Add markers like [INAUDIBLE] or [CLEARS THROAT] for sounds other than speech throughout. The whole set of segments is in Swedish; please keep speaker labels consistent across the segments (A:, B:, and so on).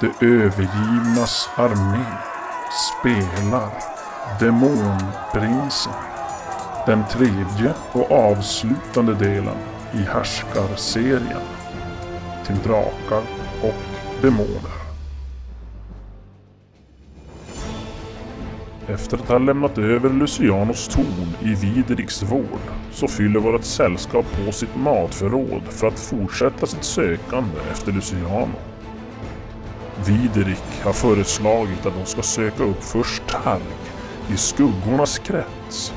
A: Det övergivnas armé spelar Demonprinsen. Den tredje och avslutande delen i Härskarserien. Till drakar och demoner. Efter att ha lämnat över Lucianos torn i Vidriks vård så fyller vårt sällskap på sitt matförråd för att fortsätta sitt sökande efter Luciano. Viderik har föreslagit att de ska söka upp först Targ i skuggornas krets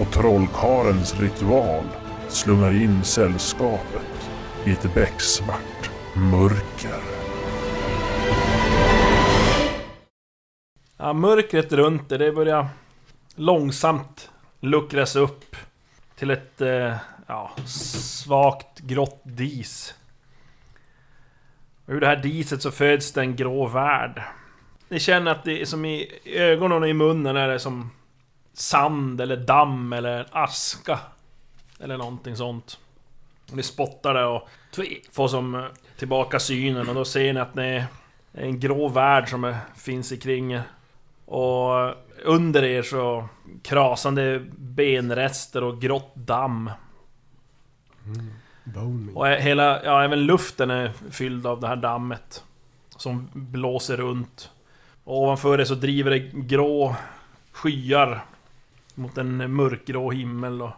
A: och trollkarlens ritual slungar in sällskapet i ett becksvart mörker.
B: Ja, mörkret runt det, det börjar långsamt luckras upp till ett eh, ja, svagt grått dis. Och ur det här diset så föds det en grå värld. Ni känner att det är som i i ögonen och i munnen är det som sand eller damm eller aska. Eller någonting sånt. Och Ni spottar det och får som eh, tillbaka synen och då ser ni att ni är en grå värld som är, finns ikring er. Och under er så krasande benrester och grått damm. Och hela, ja även luften är fylld av det här dammet. Som blåser runt. Och ovanför det så driver det grå skyar. Mot en mörkgrå himmel och...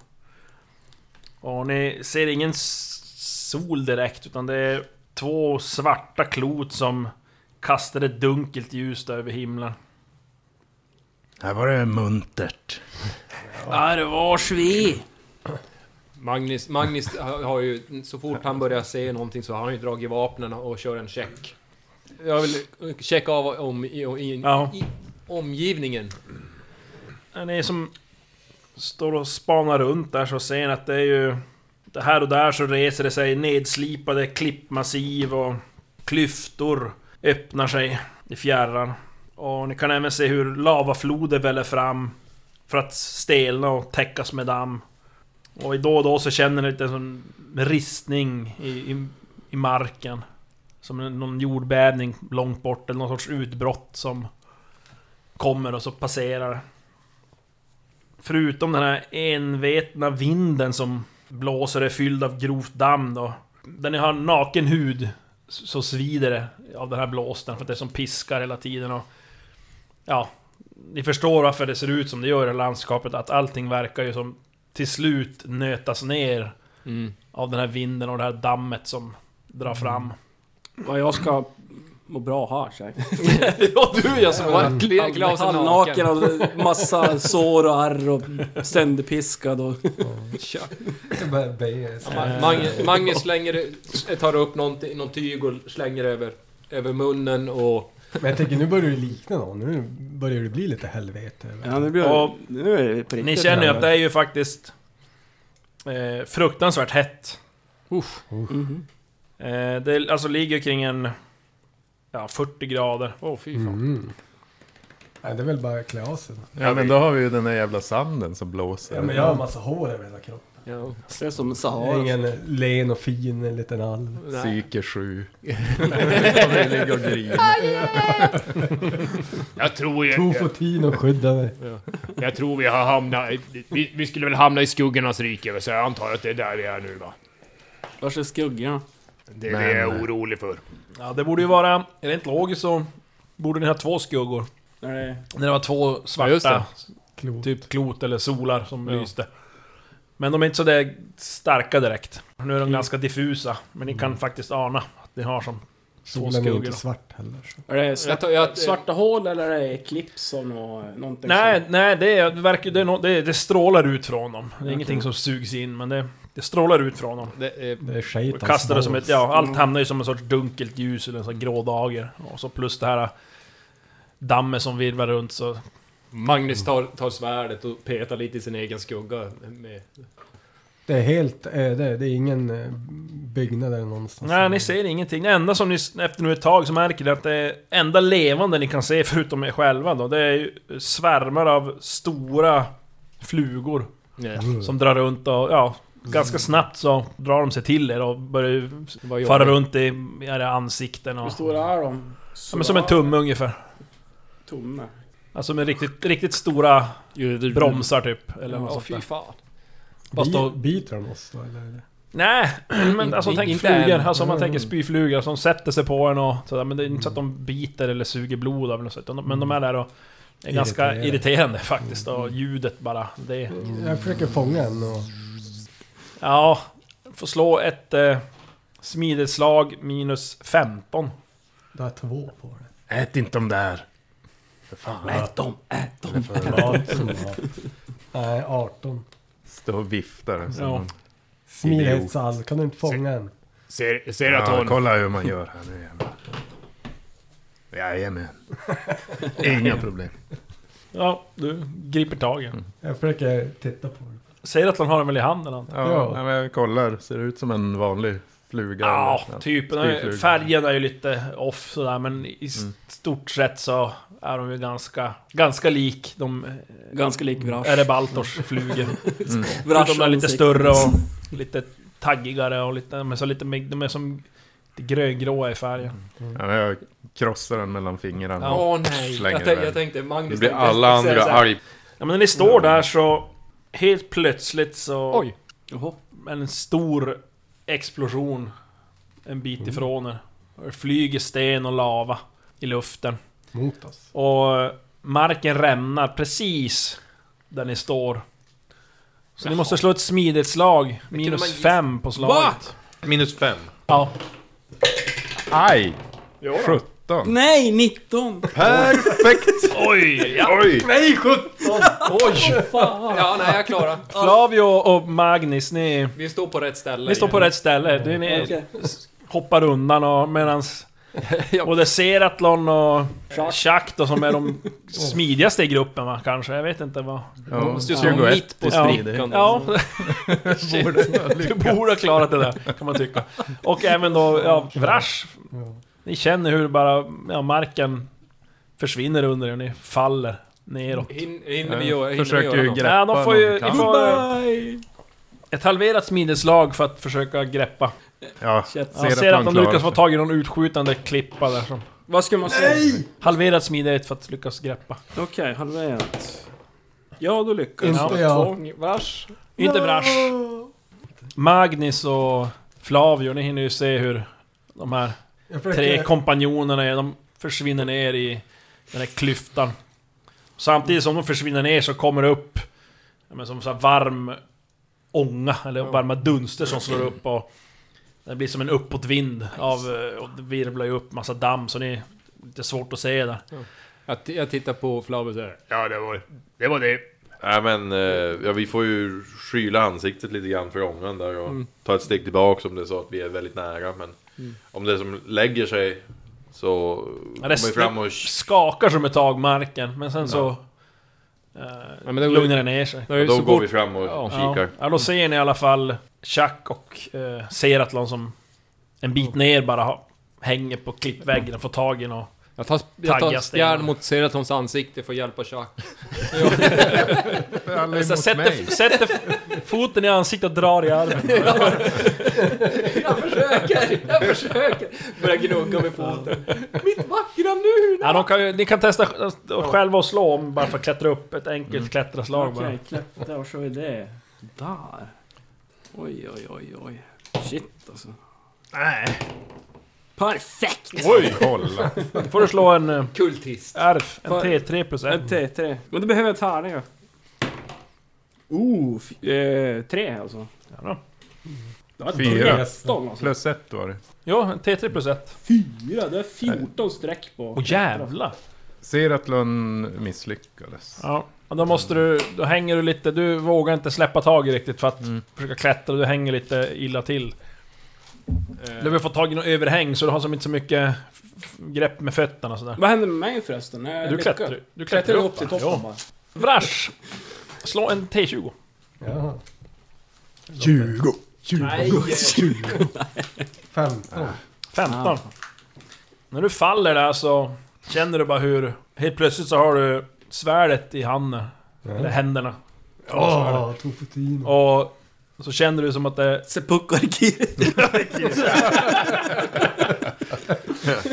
B: Och ni ser ingen s- sol direkt utan det är två svarta klot som kastar ett dunkelt ljus där över himlen.
C: Här var det muntert.
B: Där vars vi!
D: Magnus, Magnus har har ju, så fort han börjar se någonting så har han ju dragit vapnen och kör en check. Jag vill checka av om, i, i,
B: Ja.
D: i omgivningen.
B: Ni som står och spanar runt där så ser ni att det är ju... Det här och där så reser det sig nedslipade klippmassiv och klyftor öppnar sig i fjärran. Och ni kan även se hur lavafloder väller fram för att stelna och täckas med damm. Och i då och då så känner ni lite som ristning i, i, i marken. Som en- någon jordbävning långt bort eller någon sorts utbrott som kommer och så passerar. Förutom den här envetna vinden som blåser är fylld av grovt damm då. Där ni har naken hud så svider det av den här blåsten för att det är som piskar hela tiden och... Ja, ni förstår varför det ser ut som det gör i det här landskapet. Att allting verkar ju som till slut nötas ner
D: Mm.
B: av den här vinden och det här dammet som drar fram.
E: Vad jag ska må bra här säg.
B: ja, du är jag
D: Som var kli- klä av sig
E: Halvnaken
D: naken.
E: och massa sår och ärr och sönderpiskad och...
D: Kör.
F: Jag börjar be.
D: Ma- Magnus, Magnus slänger, tar upp någonting, någon tyg och slänger över, över munnen och...
F: Men jag tänker nu börjar du likna någon. Nu börjar det bli lite helvete.
E: Ja, nu blir
B: Och-
E: det... Nu är det på
B: Ni
E: riktigt.
B: känner ju att det är ju faktiskt... Eh, fruktansvärt hett.
E: Mhm.
B: Eh, det alltså ligger kring en... Ja, 40 grader.
D: Åh fy fan.
F: Mm. Nej, det är väl bara att klä av sig. då.
C: Ja men då har vi ju den där jävla sanden som blåser.
F: Ja, men jag har en massa hår över hela kroppen.
D: Ja.
E: Det är som
F: Jag
E: Sahara.
F: är ingen
B: alltså.
F: len och fin liten alv.
D: Nej.
C: Mm. Psyke 7. Kommer ligga och grina.
G: Jag tror, jag,
F: Tofotin och skydda mig.
G: jag tror vi har hamnat... i- Vi, vi skulle väl hamna i skuggornas rike, så jag antar att det är där vi är nu va?
E: Vars är skuggorna?
G: Det är det jag
C: Men-
G: är orolig för.
B: Ja, det borde ju vara... Rent logiskt så borde ni ha två skuggor.
E: När det är
B: När det var två
D: Ja, just
B: svarta,
D: det.
F: Klot.
B: typ klot eller solar som
D: Ja.
B: lyste. Men de är inte så där starka direkt. Nu
D: Mm.
B: är de ganska diffusa, men ni kan faktiskt ana att ni har som...
F: Solen är
B: skuggor.
F: inte svart heller. Så.
E: är det
D: Jag
E: svart,
D: tar, jag,
E: svarta hål eller är det eklips och nå- någonting?
B: Nej, nej, det, är, det, verkar, det, är nå- det, det strålar ut från dem. Det är ingenting som sugs in, men det, det strålar ut från dem.
D: det, eh,
F: Det är alltså. skit
B: Och
F: hans
B: kastar det som
F: balls.
B: ett, ja, allt hamnar ju som en sorts dunkelt ljus eller en sån här grå dager. Och så plus det här äh, dammet som virvlar runt så...
D: Magnus tar, tar svärdet och petar lite i sin egen skugga. Med.
F: Det är helt öde. Det är ingen eh, byggnad där någonstans.
B: Nej, ni ser ingenting. Det enda som ni s- efter nu ett tag så märker ni att det enda levande ni kan se förutom er själva då, det är ju svärmar av stora flugor som drar runt och ja, ganska snabbt så drar de sig till er och börjar ju
D: Vad gör
B: fara
D: du?
B: runt i i era ansikten
E: Hur
B: och...
E: stora är de?
B: Ja, men som en tumme ungefär.
E: Tomme.
B: Alltså med riktigt, riktigt stora bromsar typ. Eller något
D: Åh
B: sånt
D: fy
B: där.
D: fan.
B: Fast då-
F: Bi- Biter de oss då eller?
B: Nej, [CLEARS THROAT] men
D: Inte-
B: alltså tänk
D: inte Mm.
B: flugor.
D: än.
B: Alltså om man tänker spyflugor som sätter sig på en och sådär. Men det är inte så att
D: Mm.
B: de biter eller suger blod av något sätt. utan de- Men de är där och är ganska
F: Irriterande.
B: irriterande faktiskt.
D: Mm.
B: Och ljudet bara. Det,
F: Jag försöker fånga en och...
B: ja, får slå ett eh, smidigt slag minus 15.
F: Du har två på det.
C: Ät inte de där.
E: Ät dem, ät dem.
F: [LAUGHS] Nej, 18.
C: Står och viftar. som
B: Ja.
C: en idiot.
F: Smidighetsalv, kan du inte fånga en?
G: Ser,
C: Ja,
G: Seraton.
C: kolla hur man gör här nu jävlar. Jajamän. Inga problem.
B: Ja, du griper tag i den.
F: Jag försöker titta på det.
B: Säger att han har den väl i handen antar jag.
C: Ja,
F: Ja.
C: nej, men jag kollar. Ser det ut som en vanlig fluga? Mm.
B: Ja,
C: eller?
B: typ. Den är,
C: Spyfluga.
B: färgen är ju lite off sådär, men i st- stort sett så är de ju ganska, ganska lik de... eh,
E: Ganska lik Vrash.
B: Är det Baltors flugor?
E: [LAUGHS] Vrash
B: de är lite
E: ansikte.
B: större och
E: [LAUGHS]
B: lite taggigare och lite... Men så lite... mer- De är som... lite Gröngråa i färgen.
C: Ja, men jag krossar den mellan fingrarna.
B: Ja.
D: Åh nej.
C: Slänger
D: Jag, tänk,
C: iväg.
D: jag tänkte Magnus...
H: Nu blir
D: tänkte
H: alla
D: säga
H: andra
D: så här,
H: arg.
B: Ja, men när ni står där så... Helt plötsligt så...
D: Oj.
E: Jaha.
B: en stor explosion en bit ifrån er. Och Det flyger sten och lava i luften.
F: Mot oss.
B: Och marken rämnar precis där ni står. Så ni måste slå ett smidighetslag.
D: man
B: Minus
D: gissa?
B: fem på slaget.
H: Minus fem.
B: Ja.
C: Aj! 17.
E: Nej, 19!
C: Perfekt!
B: Oj! Ja.
C: Oj!
E: Nej, 17!
B: Oj!
D: Ja, nej, jag klarar.
B: Flavio och Magnus, ni,
D: Vi står på rätt ställe.
B: ni står på rätt ställe. Det, ni
E: Okej.
B: hoppar undan och medans...
D: [LAUGHS] Ja.
B: Både Seratlon och Schakt då, som är
D: [LAUGHS]
B: de smidigaste i gruppen va, kanske. Jag vet inte vad...
C: Ja,
D: måste ju stå mitt på
B: Ja.
D: sprickan.
B: Ja, [LAUGHS]
C: Borde
B: du borde ha klarat det där, kan man tycka. Och även då, ja, Vrash. Ni känner hur bara, ja, marken försvinner under er, ni faller neråt.
D: Hin, hinner vi göra, hinner vi
C: Försöker
D: göra
C: ju
D: något?
C: greppa
B: Ja, de får ju-
C: någon
B: ni
C: kam.
B: får- Ett halverat smideslag för att försöka greppa.
C: Ja,
E: Shit.
B: Jag
C: Ser
B: ser
C: att
B: att
C: de
B: de lyckas
C: klarar
B: få
C: sig.
B: tag i någon utskjutande klippa där som...
E: Vad ska man säga?
B: Halverat smidighet för att lyckas greppa.
E: Okej, halverat. Ja, då lyckas
F: Inte jag.
E: Tvång, Vrash.
B: Inte Vrash. Magnus och Flavio, ni hinner ju se hur de här
F: Jag
B: tre
H: [LAUGHS]
F: försöker...
B: kompanjonerna är, de försvinner ner i den här klyftan. Samtidigt som de försvinner ner så kommer det upp ja, men som så här varm ånga, eller varma dunster som slår upp och det blir som en uppåtvind av, eh, och det virvlar ju upp massa damm så ni... Det är svårt att se där.
D: Jag, t- jag tittar på Flavio såhär.
G: Ja, det var det. Var det.
H: Nej men, eh, ja, vi får ju skyla ansiktet lite grann för ångan där och
E: Mm.
H: ta ett steg tillbaka om det är så att vi är väldigt nära. Men om det som lägger sig så
B: Ja,
H: kommer
B: det
H: vi
B: s-
H: fram och...
B: skakar som ett tag marken, men sen så... Eh,
D: Ja, men det-
B: lugnar det ner sig.
H: Då går vi fram och
D: Ja.
B: Ja,
H: kikar.
B: ja, då ser ni i alla fall Chuck och eh, Seratlon som en bit ner bara ha, hänger på klippväggen och får tag i något.
D: Jag tar, jag
B: Tagga
D: tar
B: stenar.
D: spjärn mot Seratons ansikte för att hjälpa Chuck.
C: Alla
B: Så
C: emot mig.
B: Sätter, sätter f- [LAUGHS] foten i ansiktet och drar i armen.
D: Jag försöker! [LAUGHS] Jag försöker! Börjar gnugga med foten. Mitt vackra nu!
B: Ja, de kan, ju- ni kan testa sj- alltså, själva att slå om bara för att klättra upp. Ett enkelt klättraslag bara.
E: Okej, klättra och så är det. Där. Oj, oj, oj, oj. Shit alltså.
C: Nej,
E: Perfekt!
C: oj! Kolla.
B: Då får du slå en eh,
D: Kultist.
B: RF, en
E: För-
B: T3 plus 1.
E: En T3. Men då behöver jag tärningar. Oh, f- eh, tre alltså.
B: Ja,
E: Det var
C: Fyra.
E: 13 alltså.
C: Plus ett var det.
B: Jo, en T3 plus 1.
E: Fyra, det är 14 streck på.
B: Åh jävlar!
C: Seratlon misslyckades.
B: Ja. och Då måste du, då hänger du lite, du vågar inte släppa tag i riktigt för att försöka klättra, du hänger lite illa till. Du behöver få tag i något överhäng så du har som inte så mycket f- f- grepp med fötterna och sådär.
E: Vad händer med mig förresten? När jag
B: Du
E: lyckas?
B: klättrar, du
E: Klättrar
B: klättrar
E: jag upp till toppen
B: Ja.
E: bara?
B: Vrash! Slå en T20.
F: Jaha. 20. 20.
E: Nej.
F: 20. 15.
B: 15. När du faller där så känner du bara hur... Helt plötsligt så har du svärdet i handen. Eller händerna.
F: Ja, Tofutino.
B: Och Så känner du som att det...
E: Seppuku Arkiri.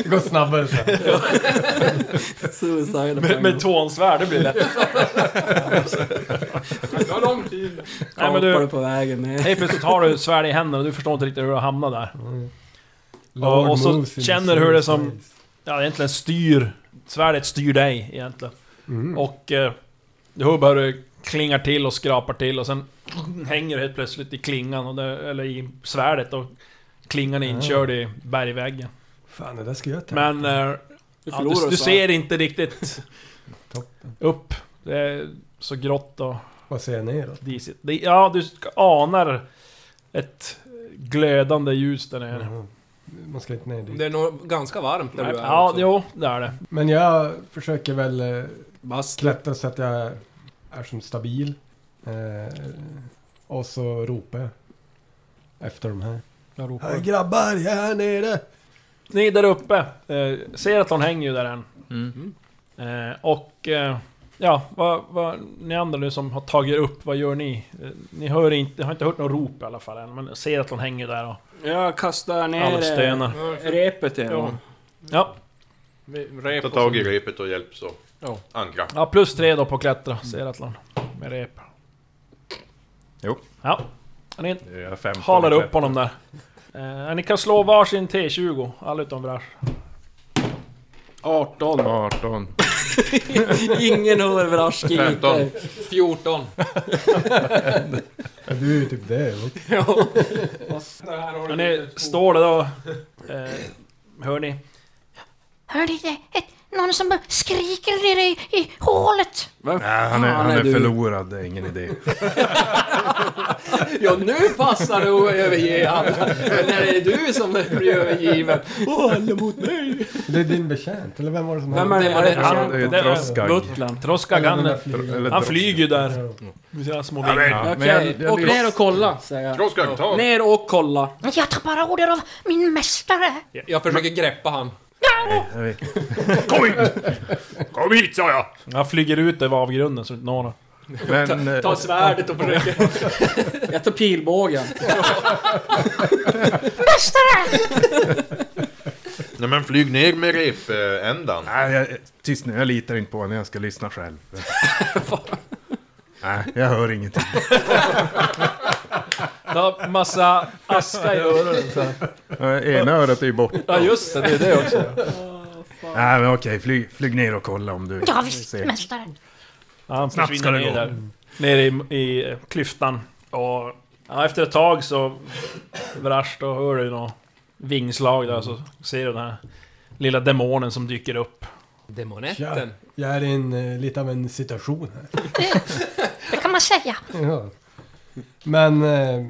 F: Det går snabbare så. här.
E: Suicide
B: Med, med
E: med
B: tvåansvärd, det blir lätt.
D: Det var lång tid.
B: Nej men du,
E: på vägen ner.
B: helt plötsligt har du ett svärd i händerna och du förstår inte riktigt hur du hamnade där.
F: Lord
B: och så
F: moves in
B: känner hur det som-
F: space.
B: Ja, egentligen styr... Svärdet styr dig egentligen.
F: Mm.
B: Och... Eh, du hör bara hur det klingar till och skrapar till och sen hänger det helt plötsligt i klingan, och det, eller i svärdet och klingan är inkörd i bergväggen.
F: Fan, det där ska jag ta.
B: Men... Eh,
E: Du
B: ja, du,
E: förlorar
B: du
E: så
B: ser inte riktigt
F: Toppen.
B: upp. Det är så grått och
F: Vad ser jag neråt?
B: disigt. Det, ja, du ska- anar ett glödande ljus där nere.
F: Mhm. Man ska inte ner dit.
D: Det är nog ganska varmt där du är
B: Ja,
D: också.
B: jo, det är det.
F: Men jag försöker väl eh,
E: Bast.
F: klättra så att jag är som stabil. Eh, och så ropar jag efter de här.
B: Jag
F: Hej
B: ropar.
F: grabbar, jag är här nere!
B: Ni där uppe, eh, ser att hon hänger ju där än.
D: Mm.
B: Eh, och... Eh, ja, vad, vad... Ni andra nu som har tagit er upp, vad gör ni? Eh, ni hör inte, har inte hört något rop i alla fall än, men ser att hon hänger där och
E: Jag kastar ner
B: alla
E: eh,
B: stönar.
E: repet igen.
B: Ja. Ja,
D: Rep
H: Ta
D: och
H: tag
D: så-
H: i repet och hjälps åt.
D: Ja.
H: Ankra.
B: Ja, plus tre då på att klättra, ser att hon med rep.
C: Jo.
B: Ja. Ni
C: Det är 15
B: halar upp
C: klätt.
B: honom där. Eh, ni kan slå varsin T20, alla utom Vrash.
E: 18.
C: 18.
E: Ingen hör Vrashki.
H: 15.
D: 14.
F: Ja, du är ju typ det. va?
B: När ni står där då, eh, hör ni?
I: Hör ni det? Ett, någon som bara skriker nere i, i hålet.
E: Vad
C: Nej, han är,
E: fan
C: han är
E: du?
C: förlorad, det är ingen idé.
D: Ja, nu passar det att överge han. När det är du som blir övergiven. Åh, alla mot mig!
F: Det är din betjänt, eller vem var det som
E: Vem
F: hade-
E: är det? Var det
B: Han-
C: Det är ju
B: det är-
C: Droskag.
E: Butlern.
B: Troskag,
F: Eller den
B: han,
F: där flygaren.
C: Eller
B: han
C: Droskag.
B: flyger ju där med sina små vingar.
C: Ja, men
E: Okej,
C: jag- jag
E: åk
C: lyfter-
E: ner och kolla säger jag.
H: Droskag, ta!
E: Ner och kolla.
I: Jag tar bara order av min mästare.
D: Jag försöker greppa han.
C: Jag vet.
G: Kom hit! Kom hit sa jag!
B: Han flyger ut över avgrunden så det inte når honom.
C: Men... eh,
D: Ta svärdet och försöker...
E: [LAUGHS] Jag tar pilbågen.
I: Mästare!
H: Nej men flyg ner med repändan.
C: Nej, jag, tyst nu. Jag litar inte på henne. Jag ska lyssna själv. Nej, jag hör ingenting.
B: Ta massa aska i öronen så här.
C: Ena örat är ju bort.
B: Ja just det, det är det också.
C: Nej, men okej. Flyg, flyg ner och kolla om du
I: Ja, visst, mästare.
B: Ja, han
C: Snabbt
B: försvinner
C: ska det
B: ner
C: gå. Mm.
B: där. Nere i, i eh, klyftan. Och ja, efter ett tag så... Vrash, då hör du något vingslag där så ser du den här lilla demonen som dyker upp.
D: Demonetten.
F: Jag är i en, eh, lite av en situation
E: [LAUGHS]
F: här.
I: Det kan man säga.
F: Ja. Men eh,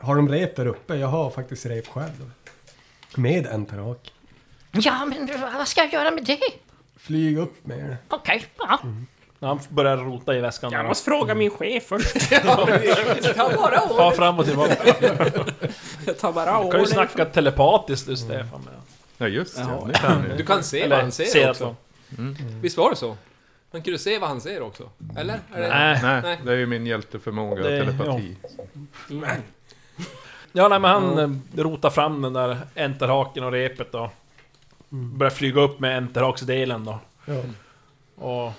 F: har de rep där uppe? Jag har faktiskt rep själv. Då. Med en tarak.
I: Ja, men vad ska jag göra med det?
F: Flyg upp med det.
I: Okej, ja.
B: Han börjar rota i väskan. Jag måste fråga min chef först.
D: Ta bara åt.
B: Ta fram och tillbaka.
E: Jag tar bara
B: Du kan ju
E: order.
B: snacka telepatiskt du Stefan. med.
C: Ja, just det.
E: Ja.
C: Nu kan jag.
D: Du kan se alltså. vad han ser, också.
B: att de-
D: Visst var det så? Man kunde se vad han ser också. Eller? Är det...
B: Nej.
C: Nej, det är ju min hjälteförmåga och
B: Det-
C: telepati.
B: Ja, nej, men han eh, rotar fram den där enterhaken och repet då. Börjar flyga upp med enterhaksdelen då.
F: Ja,
B: Och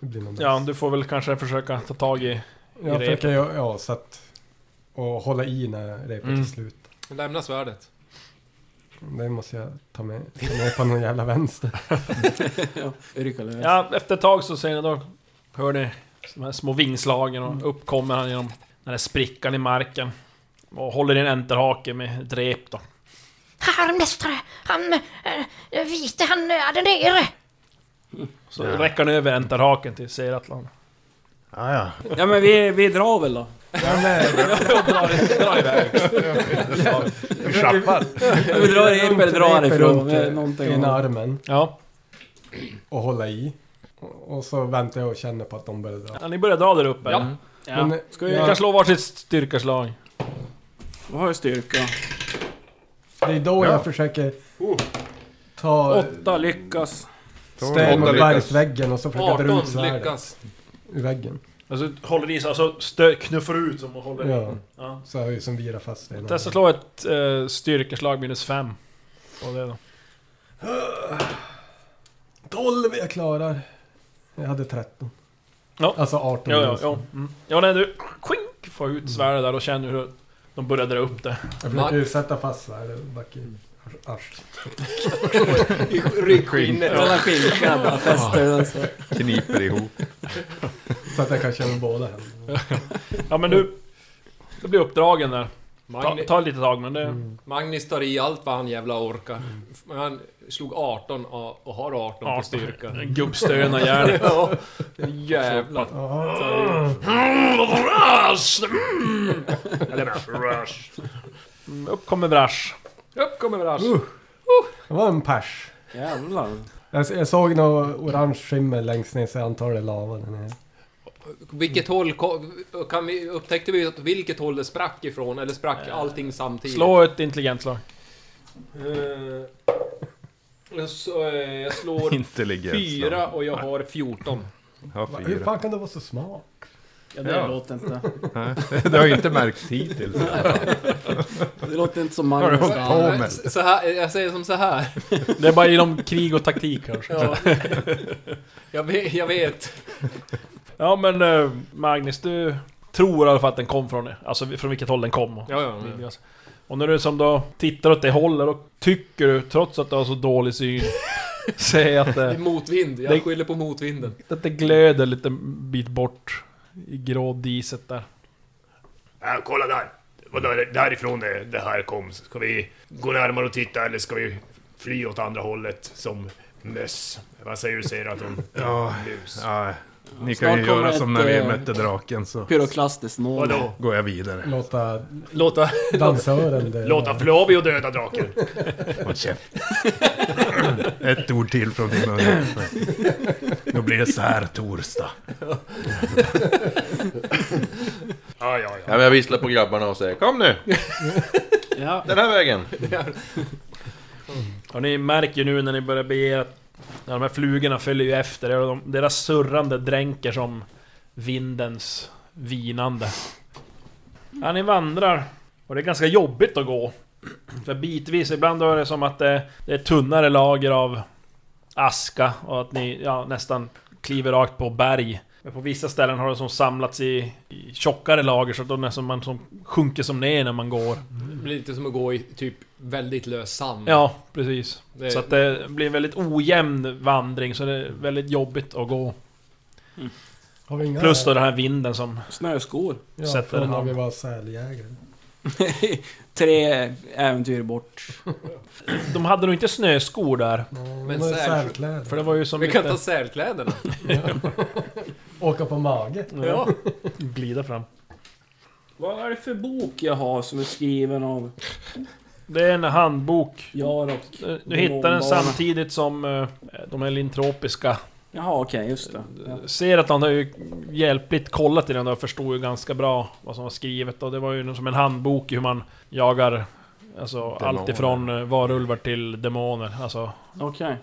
F: det blir någon
B: ja, du får väl kanske försöka ta tag i...
F: Jag
B: i
F: försöker ja, ja, så att... Och hålla i när repet är
B: Mm.
F: slut.
D: Lämna svärdet.
F: Det måste jag ta med, ta med på någon jävla vänster.
E: Ja,
D: [LAUGHS]
E: rycka lös.
B: Ja, efter ett tag så ser ni då... Hör ni de här små vingslagen
C: Mm.
B: och upp kommer han genom den här sprickan i marken. Och håller i en enterhake med ett rep då.
I: Herr mästare, han eh, vite, han är där nere.
B: Så räcker han över enterhaken till Seratlan.
C: Ah, ja.
E: Ja men vi, vi drar väl då.
C: Du tjappar.
E: Vi drar in eller drar ifrån. eh,
F: runt
E: Någonting.
F: ena armen
B: Ja,
F: och hålla i. Och och så väntar jag och känner på att de börjar dra.
B: ja, ni börjar dra där uppe.
D: Ja.
B: eller?
E: Ja.
F: Men,
E: Ska
F: ja.
E: vi...
B: Ni kan slå varsitt styrkaslag.
E: Vad har jag styrka?
F: Det är då jag försöker
H: Oh.
F: ta
E: Åtta lyckas.
F: ställ
H: Åtta
F: mot
H: lyckas.
F: bergsväggen och så försöker jag dra
D: 18
F: ut svärdet
D: lyckas.
F: ur väggen.
B: Alltså håller i sig, alltså stö, knuffar ut som och håller i.
F: Ja,
B: Ja.
F: så har jag ju som virar fast den.
B: Testa slå ett eh, styrkeslag minus 5. På det då.
F: 12 jag klarar. Jag hade 13.
B: Ja.
F: Alltså 18.
B: Ja, ja, ja. Mm. Ja, nej du... Kvink! Får ut svärdet där och känner hur de börjar dra upp det.
F: Jag försöker ju sätta fast svärdet och backa in. Arsch.
D: Ryggskinnet.
E: Kolla skinkan bara, alltså. fäster den så.
H: Kniper ihop.
F: Så att jag kan köra med båda händerna.
B: Ja, men du... Du blir uppdragen där. Ta,
D: Magni-
B: ta lite tag, men det...
D: Mm, Magnus tar i allt vad han jävla orkar. Men han slog 18 och och har 18 på styrka.
B: Gubbstöna järnet.
D: Ja, jävlar.
B: Mm, Upp kommer Brash.
D: Upp kommer Rash.
F: Det var en pers.
E: Jävlar.
F: Jag, jag såg något orange skimmer längst ner så jag antar det är lava där nere.
D: Vilket håll ko- kan vi, upptäckte vi åt vilket håll det sprack ifrån? Eller sprack allting samtidigt?
B: Slå ett intelligent slag.
D: Eh, jag s- eh, jag slår
C: Intelligens.
D: fyra och jag har 14.
C: Ja,
F: Va, Hur
C: fyra.
F: fan kan du vara så smart?
E: Ja, det
C: Ja.
E: låter inte.
C: Det har ju inte märkts hittills.
E: [LAUGHS] Det låter inte som
C: Har du
E: Magnus.
C: hållit
E: där.
C: på med?
D: Så här, jag säger som så här.
B: Det är bara inom krig och taktik kanske.
D: Ja. [LAUGHS] Jag vet, jag vet.
B: Ja men eh, Magnus, du tror i alla fall att den kom från Alltså från vilket håll den kom. och-
D: Ja, ja, ja.
B: Alltså. Och när du som då tittar åt det hållet och tycker du, trots att du har så dålig syn, [LAUGHS] ser att eh,
D: Det är
B: det,
D: motvind. Jag
B: Det-
D: skyller på motvinden.
B: att det glöder lite bit bort i grå diset där.
G: Ja, kolla där! Vadå, är det därifrån det, det här kom. Ska vi gå närmare och titta eller ska vi fly åt andra hållet som möss? Vad säger du, säger att de...
C: Ja.
G: Mus.
C: Ja, ni kan
E: Snart
C: ju
E: kommer
C: göra
E: ett,
C: som när vi
E: eh,
C: mötte draken så
E: Pyroklastiskt nål.
G: Vadå?
C: går jag vidare.
F: Låta
G: Låta,
F: dansören det...
G: låta Flavio döda draken?
B: [LAUGHS]
C: Håll käften. Ett ord till från din mun. Nu blir det särtorsdag.
G: Ja, ja, ja.
H: Ja, men jag visslar på grabbarna och säger Kom nu!
E: Ja.
H: Den här vägen!
B: Och ni märker ju nu när ni börjar bege er att ja, de här flugorna följer ju efter er och de, deras surrande dränker som vindens vinande. Ja, ni vandrar och det är ganska jobbigt att gå. För bitvis, ibland är det som att det, det är tunnare lager av aska och att ni ja, nästan kliver rakt på berg. Men på vissa ställen har det som samlats i, i tjockare lager så att de nästan man som sjunker som ner när man går.
D: Det blir lite som att gå i typ väldigt lös sand.
B: Ja, precis.
D: Det-
B: Så att det blir en väldigt ojämn vandring, så det är väldigt jobbigt att gå.
F: Har vi inga...
B: Plus då den här vinden som...
E: Snöskor. [LAUGHS]
F: ja,
B: sätter
F: från när
B: hand.
F: vi var säljägare.
E: Tre äventyr bort.
B: De hade nog inte snöskor där,
D: Men
F: Mm, Men
D: sälj-
F: sälkläder.
B: för det var ju som
D: Vi kan
B: lite...
D: ta särkläderna.
F: Åka på mage.
B: Ja, [LAUGHS] glida fram.
E: Vad är det för bok jag har som är skriven av
B: Det är en handbok.
E: Jarok?
B: Eh, Du hittar den samtidigt som eh, de här lintropiska.
E: Jaha, okej, just det. Ja.
B: Ser att han har ju hjälpligt kollat i den och förstod ju ganska bra vad som var skrivet. Och det var ju som en handbok i hur man jagar... Alltså allt ifrån eh, varulvar till demoner. Alltså...
E: Okej.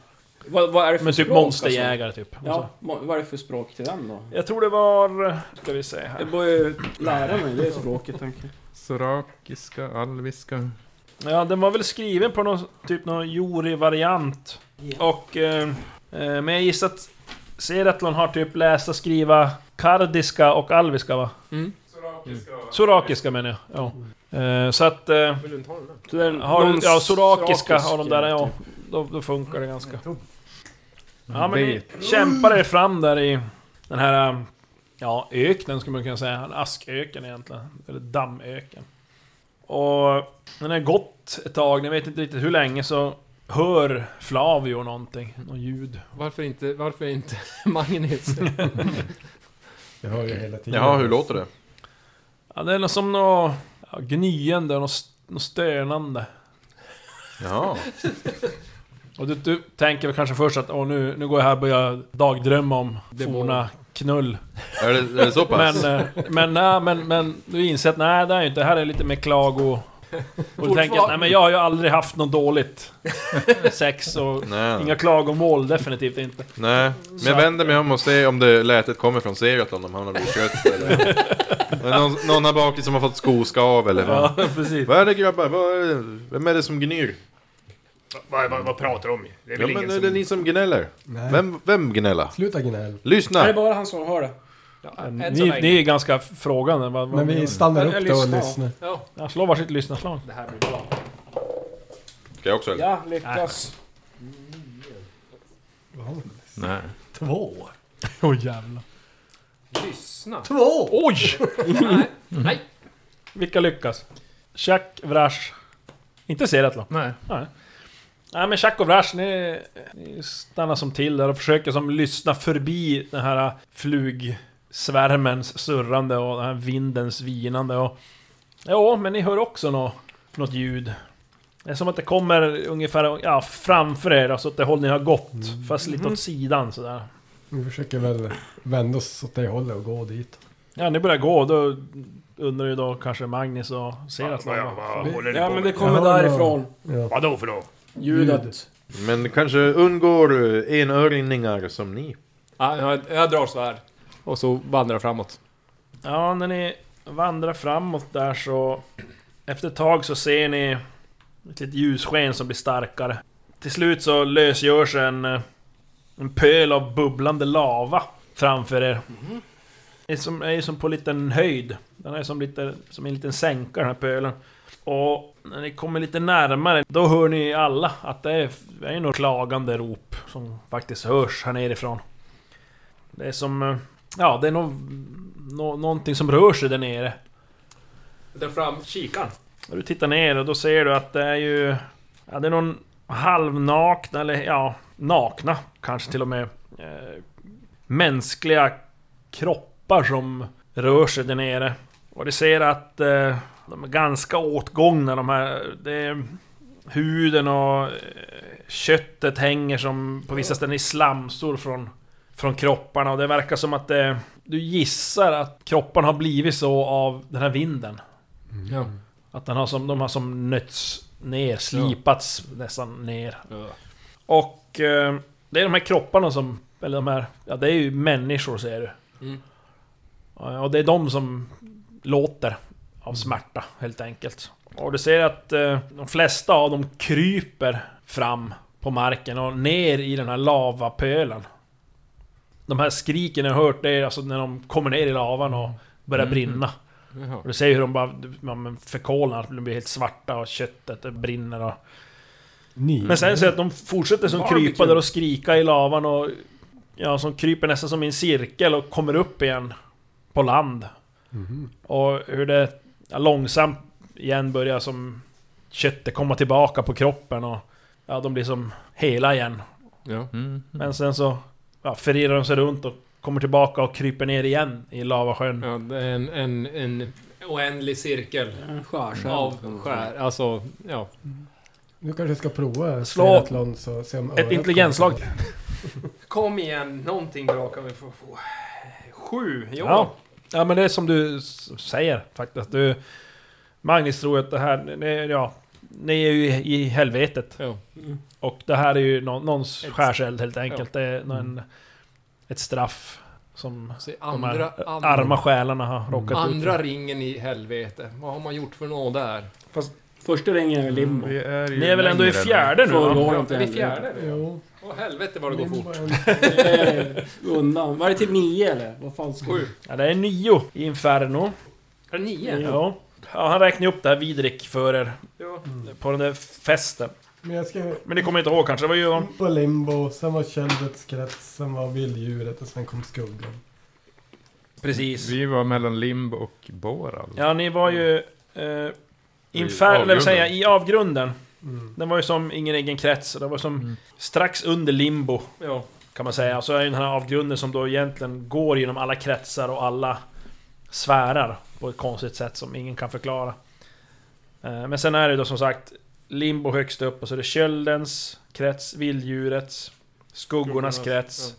E: Vad, vad är det för
B: Men typ
E: språk,
B: monsterjägare typ.
E: Alltså? Ja, mo- vad är det för språk till den då?
B: Jag tror det var... Ska vi se
E: Jag
B: här.
E: borde ju lära mig det språket, tänker jag.
C: Sorakiska, alviska.
B: Ja, den var väl skriven på någon typ någon Jori-variant. Och... Eh, eh, men jag gissar att Seratlon har typ läst och skriva kardiska och alviska va?
D: Mm.
B: Sorakiska menar jag. Ja. Eh, så att... Eh,
D: Vill du inte ha den där?
E: Mm. Så det är
B: har du,
E: någon
B: ja, sorakiska
E: sorakisk,
B: har de där, ja.
E: typ.
B: Då, då funkar det ganska. Ja, men ni kämpar er fram där i den här... eh, Ja, öknen skulle man kunna säga. En asköken egentligen. Eller dammöken. Och när det har gått ett tag, ni vet inte riktigt hur länge, så hör Flavio någonting. Något ljud.
D: Varför inte, varför inte [LAUGHS] Magnus?
F: Jag hör ju hela tiden.
H: Jaha, hur låter det?
B: Ja, det är något som något ja, gnyende, något, st- något stönande.
H: Jaha.
B: Och du, du tänker väl kanske först att åh, nu, nu går jag här och börjar dagdrömma om
D: Demon.
B: forna knull.
H: Är det, är det så pass?
B: Men, eh, men, nej, men, men du inser att nej, det är ju inte. Det här är lite mer klago... Och du tänker att nej men jag har ju aldrig haft något
D: [LAUGHS]
B: dåligt sex och
H: Nej.
B: inga klagomål, definitivt inte.
H: Nej, men jag vänder mig om och ser om det lätet kommer från seriet om de hamnar blivit trött eller... Men någon, någon här bak som har fått skoskav eller vad.
B: [LAUGHS] Ja, precis.
H: Vad är det grabbar? Vad är det? Vem är det som gnyr?
G: Vad, vad, vad pratar du om? Det är
H: Ja
G: väl
H: men
G: ingen
H: är
G: som...
H: det ni som gnäller?
F: Nej.
H: Vem, vem gnäller?
F: Sluta gnäll.
E: Det är
H: Lyssna!
E: bara han som hör det.
D: Än så
B: Ni, ni
D: länge.
B: är ganska frågande. Vad, vad
F: Men vi stannar
E: Jag
F: upp då och
E: lyssnar.
F: lyssnar.
D: Ja,
B: ja, slå varsitt lyssnarslag.
D: det här blir bra.
H: Ska jag också eller?
E: Ja,
G: Äh,
E: lyckas.
H: Nej.
F: Två. Åh oh, jävlar.
D: Lyssna.
F: Två!
B: Oj!
D: Nej. Nej.
B: Vilka lyckas? Jack, Vrash. Inte Serat då?
C: Nej.
B: Nej. Nej men Jack och Vrash, ni, ni stannar som till där och försöker som lyssna förbi den här flugsvärmens surrande och den här vindens vinande och... Ja, men ni hör också något, något ljud. Det är som att det kommer ungefär ja, framför er, alltså åt det håll ni har gått. Fast lite åt sidan sådär.
F: Vi försöker väl vända oss åt det hållet och gå dit.
B: Ja, ni börjar gå, då undrar ju då kanske Magnus och Serat
G: Vad, vad, vad håller ni
E: Ja,
G: på
E: men
G: med?
E: det kommer
F: Ja,
E: därifrån.
F: Ja.
G: Vadå för då?
E: Ljudet.
H: Men kanske undgår eh, enöringar som ni.
D: Ja, jag, jag drar svärd. Och så vandrar jag framåt.
B: Ja, när ni vandrar framåt där så... Efter ett tag så ser ni ett litet ljussken som blir starkare. Till slut så lösgörs en, eh, en pöl av bubblande lava framför er. Det är som, är som på en liten höjd. Den är som, lite, som en liten sänka den här pölen. Och när ni kommer lite närmare, då hör ni alla att det är, det är några klagande rop som faktiskt hörs här nerifrån. Det är som... eh, Ja, det är nog nå, någonting som rör sig där nere.
D: Där fram kikaren.
B: Och du tittar ner och då ser du att det är ju... Ja, det är någon halvnakna, eller ja, nakna kanske till och med. Eh, mänskliga kroppar som rör sig där nere. Och du ser att eh, de är ganska åtgångna de här. Det är, huden och eh, köttet hänger som på vissa ställen i slamsor från, från kropparna. Och det verkar som att det, du gissar att kropparna har blivit så av den här vinden.
D: Ja.
B: Att den har som, de har som nötts ner, slipats nästan ner. Och eh, det är de här kropparna som... Eller de här... Ja, det är ju människor ser du.
D: Mm.
B: Ja, Och det är de som låter av smärta helt enkelt. Och du ser att eh, de flesta av dem kryper fram på marken och ner i den här lavapölen. De här skriken jag har hört, det är alltså när de kommer ner i lavan och börjar brinna.
D: Mm. Jaha.
B: Och du ser hur de bara ja, men förkolnar, de blir helt svarta och köttet det brinner och...
F: Ni.
B: Men sen ser jag att de fortsätter som krypa där och skrika i lavan och... Ja, som kryper nästan som i en cirkel och kommer upp igen på land. Och hur det ja, långsamt igen börjar som köttet komma tillbaka på kroppen och... Ja, de blir som hela igen.
D: Ja.
B: Men sen så ja, förirrar de sig runt och kommer tillbaka och kryper ner igen i lavasjön.
D: ja, det är en, en, en oändlig cirkel
E: En skärskärm.
D: av skär. Alltså, ja.
F: Du kanske ska prova
B: Slå
F: Seratlon så se om örat
B: Ett intelligenslag.
F: kommer.
D: Kom igen, någonting bra kan vi få. få. Sju, jo.
B: Ja. ja, men det är som du s- säger faktiskt. Du, Magnus tror att det här, ni, ja, ni är ju i i helvetet.
D: Ja.
B: Och det här är ju nå- någons
D: Ett- Mm.
B: skärseld helt enkelt. Det är någon, ett straff som
D: Så
B: de
D: andra,
B: här
D: andra,
B: arma själarna har råkat ut
D: andra
B: för.
D: ringen i helvete. Vad har man gjort för något där?
E: Första ringen är limbo.
C: Vi är ju
B: Ni är väl ändå i
C: längre än-
B: fjärde nu? va?
E: Förrgår
D: Det
E: inte
D: är
E: heller.
D: fjärde nu.
F: Jo.
D: Åh helvete vad det går fort.
E: Det är Eh, Undan. Var det till nio eller? Vad fan ska
D: Sju.
B: Ja, det är nio i Inferno.
D: Är det nio?
B: Ja. Ja, han räknar upp det här Vidrik för er
D: Ja.
B: på den där festen.
F: Men jag ska
B: Men ni kommer inte ihåg kanske? Det var ju...
F: på limbo, sen var köldets krets, sen var vilddjuret och sen kom skuggan.
B: Precis.
C: Vi var mellan Limb och alltså. Boral.
B: Ja, ni var ju... Eh, infär, eller vad säger jag, i avgrunden.
F: Mm.
B: Den var ju som ingen egen krets, och den var som strax under limbo,
D: Ja.
B: kan man säga. Och så är ju den här avgrunden som då egentligen går genom alla kretsar och alla sfärer på ett konstigt sätt som ingen kan förklara. Eh, men sen är det då som sagt limbo högst upp, och så är det köldens krets, vilddjurets, skuggornas krets,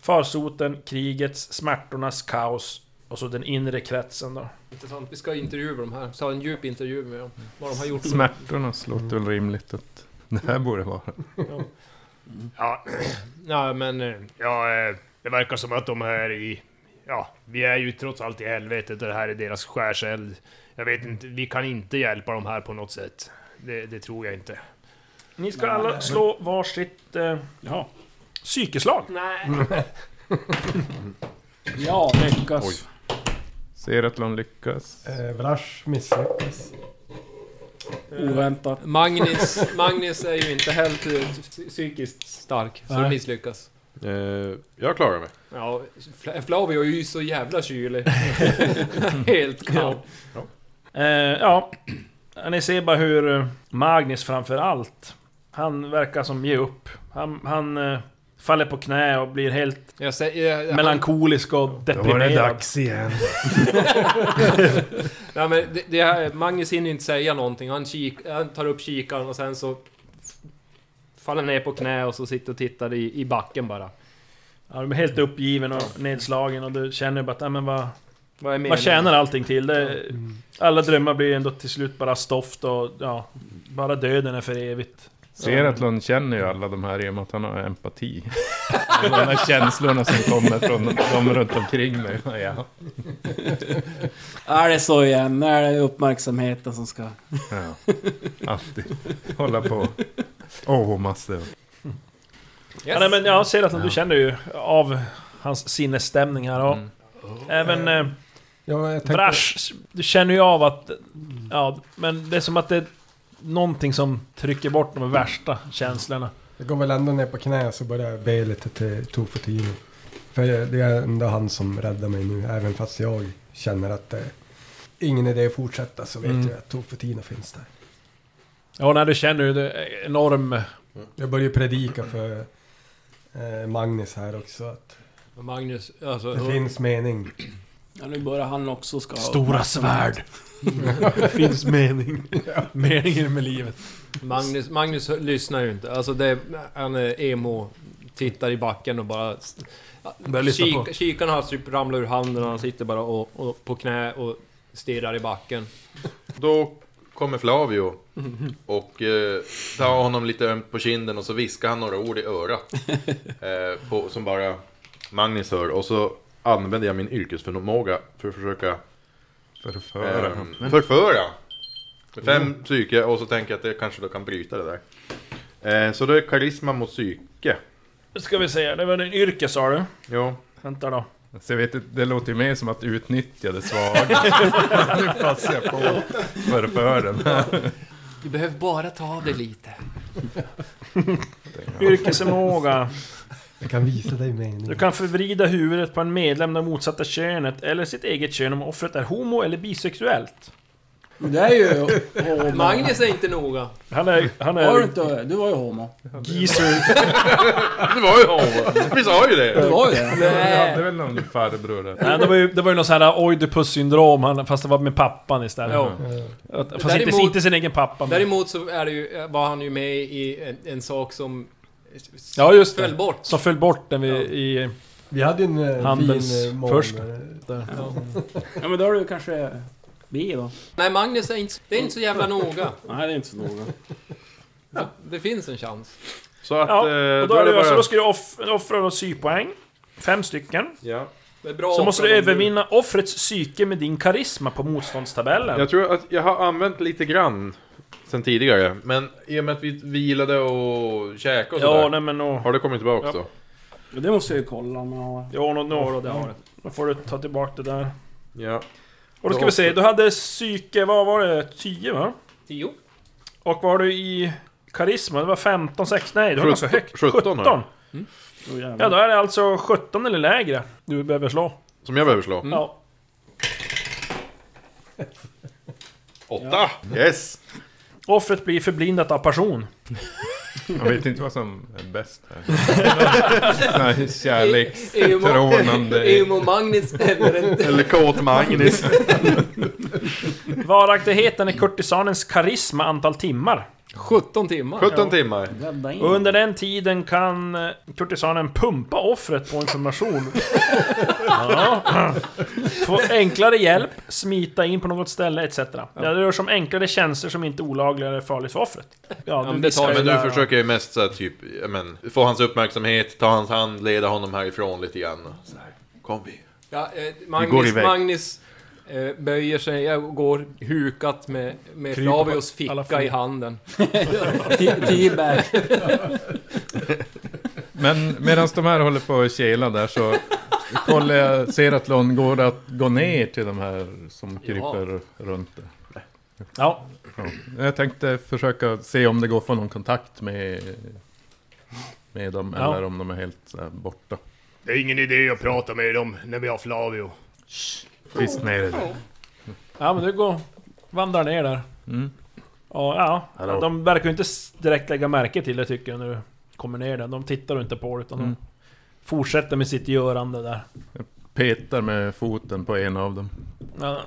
B: farsoten, krigets, smärtornas, kaos Och så den inre kretsen då.
D: Intressant. Vi ska intervjua de här. Så ha en djup intervju med dem. Vad de har gjort.
C: Smärtorna låter väl rimligt att det här borde vara.
G: Ja,
D: Ja, men... eh,
G: ja, eh, det verkar som att de här i... Ja, vi är ju trots allt i helvetet och det här är deras skärseld. Jag vet inte, vi kan inte hjälpa de här på något sätt. Det, det tror jag inte.
B: Ni ska alla slå varsitt eh,
E: Ja.
B: psykeslag.
E: Ja, lyckas.
C: Ser att de lyckas.
F: Eh, Vrash misslyckas.
G: [LAUGHS]
E: Oväntat.
D: Magnus, Magnus är ju inte helt eh, psykiskt stark, så det misslyckas.
H: Eh, jag klarar mig.
D: Ja, Fla- Flavio är ju så jävla kylig.
G: [LAUGHS]
D: helt kall.
B: Eh, ja, ni ser bara hur eh, Magnus framför allt, han verkar som ge upp. Han, han eh, faller på knä och blir helt
D: Jag säger... jag-
B: melankolisk och deprimerad.
C: igen.
D: Nej, men det, det här, Magnus hinner inte säga någonting. Han, kik, han tar upp kikaren och sen så... f- Faller ner på knä och så sitter och tittar i, i backen bara.
B: Ja, du blir helt uppgiven och nedslagen och du känner bara att, "Ja, men vad,
D: Vad är meningen?
B: vad tjänar allting till? Det, alla drömmar blir ändå till slut bara stoft och ja, bara döden är för evigt.
C: Ser att Lund känner ju alla de här i och med att han har empati. de här känslorna som kommer från de runt omkring mig. Ja.
E: Är det så igen? Är det uppmärksamheten som ska...
C: Ja. Alltid. Hålla på. Åh, oh, massor.
B: Ja, nej, men jag ser att du känner ju av hans sinnesstämning här och även... Eh,
F: Ja, jag tänkte,
B: Vrash, du känner ju av att... Ja, men det är som att det är någonting som trycker bort de värsta känslorna.
F: Jag går väl ändå ner på knä så börjar jag be lite till Tofutino. För det är ändå han som räddar mig nu, även fast jag känner att det är ingen idé att fortsätta så vet
B: Mm.
F: jag att Tofutino finns där.
B: Ja, när du känner ju det är enorm...
F: Jag börjar predika för eh, Magnus här också att
D: Magnus, alltså...
F: det finns mening.
E: Ja, nu börjar han också ska...
B: Stora svärd. [LAUGHS] det finns
F: [LAUGHS]
B: mening. Meningen med livet.
D: Magnus, Magnus lyssnar ju inte. Alltså det, han är emo, tittar i backen och bara...
B: Börjar lyssna
D: Kik,
B: på.
D: Kikaren har typ ramlat ur handen och han sitter bara och, och, på knä och stirrar i backen.
H: Då kommer Flavio och eh, tar honom lite ömt på kinden och så viskar han några ord i [LAUGHS] örat. Eh, på, som bara Magnus hör. Och så använder jag min yrkesförmåga för att försöka
C: Förföra.
H: Ehm, förföra. Fem psyke och så tänker jag att det kanske då kan bryta det där. Eh, så då är karisma mot psyke.
B: Nu ska vi se, det var en yrke sa du?
H: Jo.
B: Vänta då.
C: Så jag vet inte, det låter ju mer som att utnyttja det svaga. nu passar jag på förfören.
D: Du behöver bara ta av dig lite.
B: Yrkesförmåga.
F: Jag kan visa dig mening.
B: Du kan förvrida huvudet på en medlem av motsatta könet eller sitt eget kön om offret är homo eller bisexuellt.
E: Det är [LAUGHS] ju... homo.
D: Magnus är inte noga.
B: Han är... Han
E: Var du
B: är...
E: inte... Du var ju homo.
B: Geezer.
H: Det var ju homo! Vi sa
E: Du
H: ju det!
E: var ju det.
C: Vi hade väl någon farbror där.
B: Nej, det var ju, det var ju någon sån här oidipus-syndrom, han- fast det var med pappan istället.
D: Ja.
B: Att- Fast
D: Däremot-
B: inte, inte sin egen pappa. Men...
D: Däremot så är det ju, var han ju med i en, en sak som...
B: Ja, just det.
D: Föll bort.
B: Som föll bort den vi, i...
F: Vi hade ju en eh,
B: Handens
F: fin eh, morgon.
B: först.
E: Ja, men då är du kanske... Bi då?
D: Nej, Magnus är inte, det är inte så jävla noga.
E: Nej, det är inte så noga.
D: Det finns en chans.
H: Så
B: [LAUGHS]
H: att...
B: Ja,
H: eh,
B: och då, är det, alltså- så då ska du off, offra då psypoäng. Fem stycken.
H: Ja.
D: Det är bra
B: Så måste du
D: för dem.
B: övervinna offrets psyke med din karisma på motståndstabellen.
H: Jag tror att jag har använt lite grann sen tidigare. Men i och med att vi vilade och käkade och
B: Ja,
H: sådär.
B: nej men nå...
H: Har det kommit tillbaka då?
E: Men Det måste jag ju kolla om jag har...
B: Jo, nå, nå då, det har det. Då får du ta tillbaka det där.
H: Ja.
B: Och då ska vi se, du hade psyke, vad var det? 10 va?
D: Tio.
B: Och vad har du i karisma? Det var 15, 16, nej du har ganska
H: Sjutton-
B: högt.
H: sjutton har jag.
E: Oh, jävlar.
B: Ja, då är det alltså 17 eller lägre du behöver slå.
H: Som jag behöver slå.
B: Ja.
H: Åtta! Yes!
B: Offret blir förblindat av passion.
C: Jag vet inte vad som är bäst här. Nej, Kärleks...
D: Emo-
C: Trånande.
D: Emo Magnus
C: [LAUGHS]
D: eller en...
H: Eller kåt Magnus.
B: Varaktigheten är kurtisanens karisma antal timmar.
D: 17 timmar.
H: 17 timmar.
E: Rädda in.
B: Under den tiden kan eh, kurtisanen pumpa offret på information. ja. Få enklare hjälp, smita in på något ställe etc. Det rör sig om enklare tjänster som inte är olagliga eller farligt för offret. Ja,
D: men
B: viskar
D: betalar
B: ju
H: Men du
B: där,
H: försöker ju mest så här, typ, ja, men, få hans uppmärksamhet, ta hans hand, leda honom härifrån lite grann. Så här, kom vi.
D: Ja, eh,
C: går
D: Magnus,
C: iväg.
D: Magnus eh, böjer sig, jag går hukat med, med
B: Kryper på
D: Flavios
B: alla
D: ficka
B: fyra.
D: i handen. [LAUGHS]
E: Te- Teabag.
C: Men medan de här håller på och kela där så kollar jag, ser att Lon går det att gå ner till de här som kryper runt där.
B: Ja,
C: Ja. Jag tänkte försöka se om det går att få någon kontakt med, med dem
B: Ja.
C: eller om de är helt så här, borta.
G: Det är ingen idé att prata med dem när vi har Flavio.
C: Tyst ner dig.
B: ja men du går... Vandrar ner där.
C: Mm.
B: Och, ja,
C: Hallå.
B: de verkar ju inte s- direkt lägga märke till det tycker jag när du kommer ner där. De tittar ju inte på det utan de
C: Mm.
B: fortsätter med sitt görande där.
C: Petar med foten på en av dem.
B: Ja.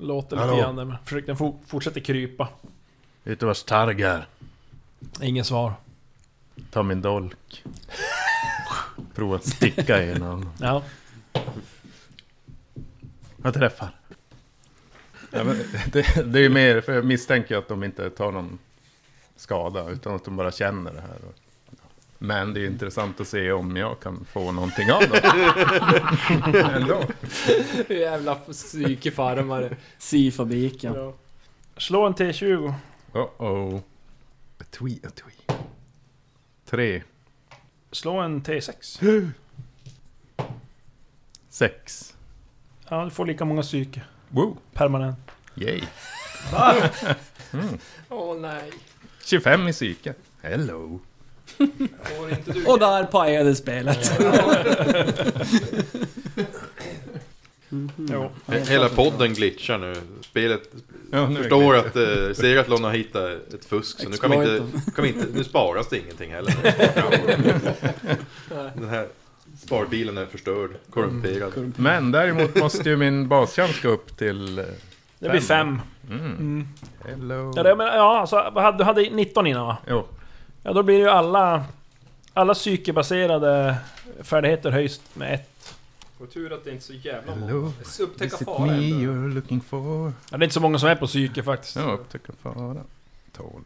B: Låter lite
C: Hallå.
B: grann där, men försöker, den for, fortsätter krypa.
C: Vet du vars targ är?
B: Ingen svar.
C: Ta min dolk. Prova att sticka i en av dem.
B: Ja.
C: Jag träffar. Ja, men det, det är ju mer, för jag misstänker att de inte tar någon skada, utan att de bara känner det här. Och- Men det är ju intressant att se om jag kan få någonting av dem. Ändå.
D: Jävla psykefarmare.
E: Si-fabriken.
B: Slå en T20.
C: Uh-oh. A twee, a twee. Tre,
B: Slå en T6.
C: sex.
B: Ja, du får lika många psyke.
C: Woo!
B: Permanent.
C: Yay!
D: Åh nej.
C: 25 i psyket. Hello!
D: Får inte du...
E: Och där pajade spelet.
C: Mm.
B: Jo.
H: Hela podden glitchar nu. Spelet
C: Ja, nu är
H: förstår
C: det-
H: att eh, Segatlon har hittat ett fusk. Så nu kan vi inte...
E: Exploiten.
H: Kan vi inte nu sparas det ingenting heller. Den här sparbilen är förstörd, korrumperad.
C: Men däremot måste ju min baschans gå upp till... eh,
B: Det blir fem.
C: Hello!
B: Ja, det, men, ja alltså, vad hade- du hade 19 innan va?
C: Jo.
B: Ja, då blir det ju alla... Alla psykebaserade färdigheter höjs med ett.
D: Och tur att det inte är så jävla många.
C: Hello.
D: Upptäcka
C: Is it
D: fara
C: me
D: ändå.
C: you're looking for?
B: Ja, det är inte så många som är på psyke faktiskt.
C: Ja, upptäcka fara. Tål.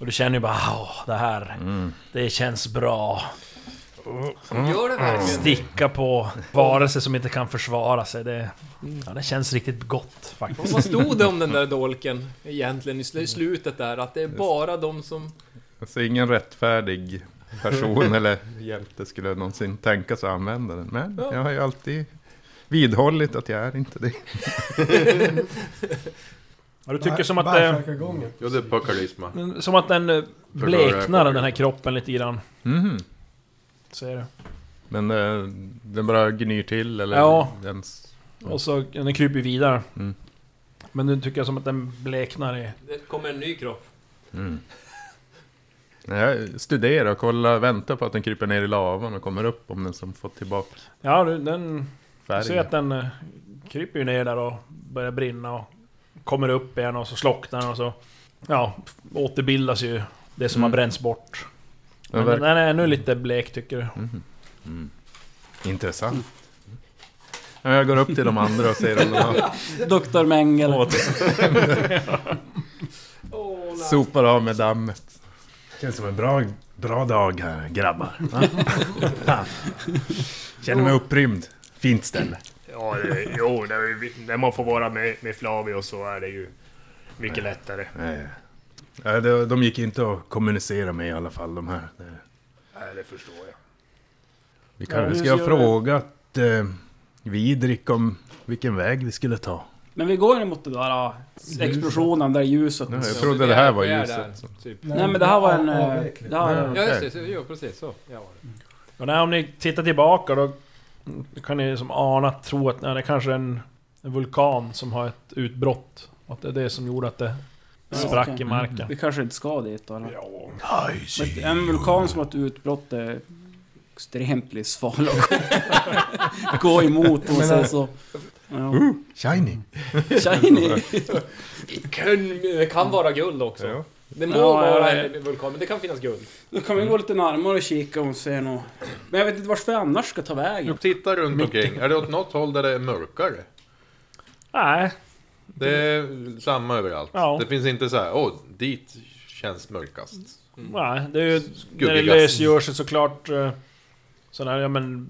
B: Och du känner ju bara åh, det här.
C: Mm.
B: Det känns bra.
D: Gör det verkligen?
B: Sticka på varelser som inte kan försvara sig. Det, ja, det känns riktigt gott faktiskt.
D: Och vad stod det om den där dolken egentligen i sl- slutet där? Att det är bara de som...
C: Alltså ingen rättfärdig [LAUGHS] person eller hjälte skulle någonsin tänka sig använda den. Men jag har ju alltid vidhållit att jag är inte det.
B: Ja, du tycker som att,
F: Bara
B: det,
F: sparka igång den.
H: Jo, det är pakarisma.
C: Mm.
B: som att den eh, bleknar den här kroppen lite grann.
C: Mhm.
B: Ser du.
C: Men eh, den bara gnyr till eller?
B: Ja.
C: Den,
B: Och så den kryper ju vidare.
C: Mm.
B: Men nu tycker jag som att den bleknar i...
D: Det kommer en ny kropp.
C: mm. Jag studerar och kollar, väntar på att den kryper ner i lavan och kommer upp om den som fått tillbaka
B: Ja, du, den... Du ser
C: färgen.
B: att den eh, kryper ju ner där och börjar brinna och kommer upp igen och så slocknar den och så... Ja, återbildas ju det som
C: Mm.
B: har bränts bort.
C: Den
B: Men
C: verkar-
B: den är ännu lite blek tycker du.
E: Mm.
C: Intressant. Mm. Ja, Jag går upp till de andra och ser om de har
E: Doktor Mengel.
C: Sopar av med dammet. Känns som en bra, bra dag här, grabbar. Va? Fan. [LAUGHS] Känner mig upprymd. Fint ställe.
G: Ja, det, jo, när, vi, när man får vara med, med Flavio så är det ju mycket lättare.
C: Eh, eh, de- De gick inte att kommunicera med i alla fall, de här. Eh,
G: Nej, det förstår jag.
B: Ja, hur
C: Vi kanske
B: ska
C: ska ha
B: jag
C: frågat eh, Vidrik om vilken väg vi skulle ta.
E: Men vi går ju mot den där ah, explosionen, där ljuset.
C: Nej, jag
D: Ja,
C: trodde
D: är-
C: det här var
D: är
C: ljuset.
D: där, Typ.
E: Nej men det här var en... eh,
F: Avveckling.
E: Det här,
D: Ja, just det. så- Ja, precis så. Ja, var det.
B: Och när, om ni tittar tillbaka då kan ni som ana, tro att nej, det kanske är en, en vulkan som har ett utbrott. Och att det är det som gjorde att det
E: Ja,
B: sprack
E: okej. Mm.
B: i marken.
E: vi kanske inte ska dit då eller? Men En vulkan som har ett utbrott, det extremt livsfarlig att gå- [LAUGHS] gå emot och sen så... Ja.
C: Shiny!
E: Shiny!
D: Kan, det kan vara guld också.
C: Ja.
D: Det må
E: Ja, ja,
D: vara
E: ja.
D: en vulkan, men det kan finnas guld.
E: Då kan vi gå lite närmare och kika och se något. Men jag vet inte vart vi annars ska ta vägen.
H: Titta runt omkring. Är det åt något håll där det är mörkare?
B: Nej,
H: Det är samma överallt.
B: Ja.
H: Det finns inte så här, åh, dit känns mörkast.
B: nej. Det är ju, när det
H: Skuggigast.
B: lösgör sig såklart... eh, Sådana här, ja men...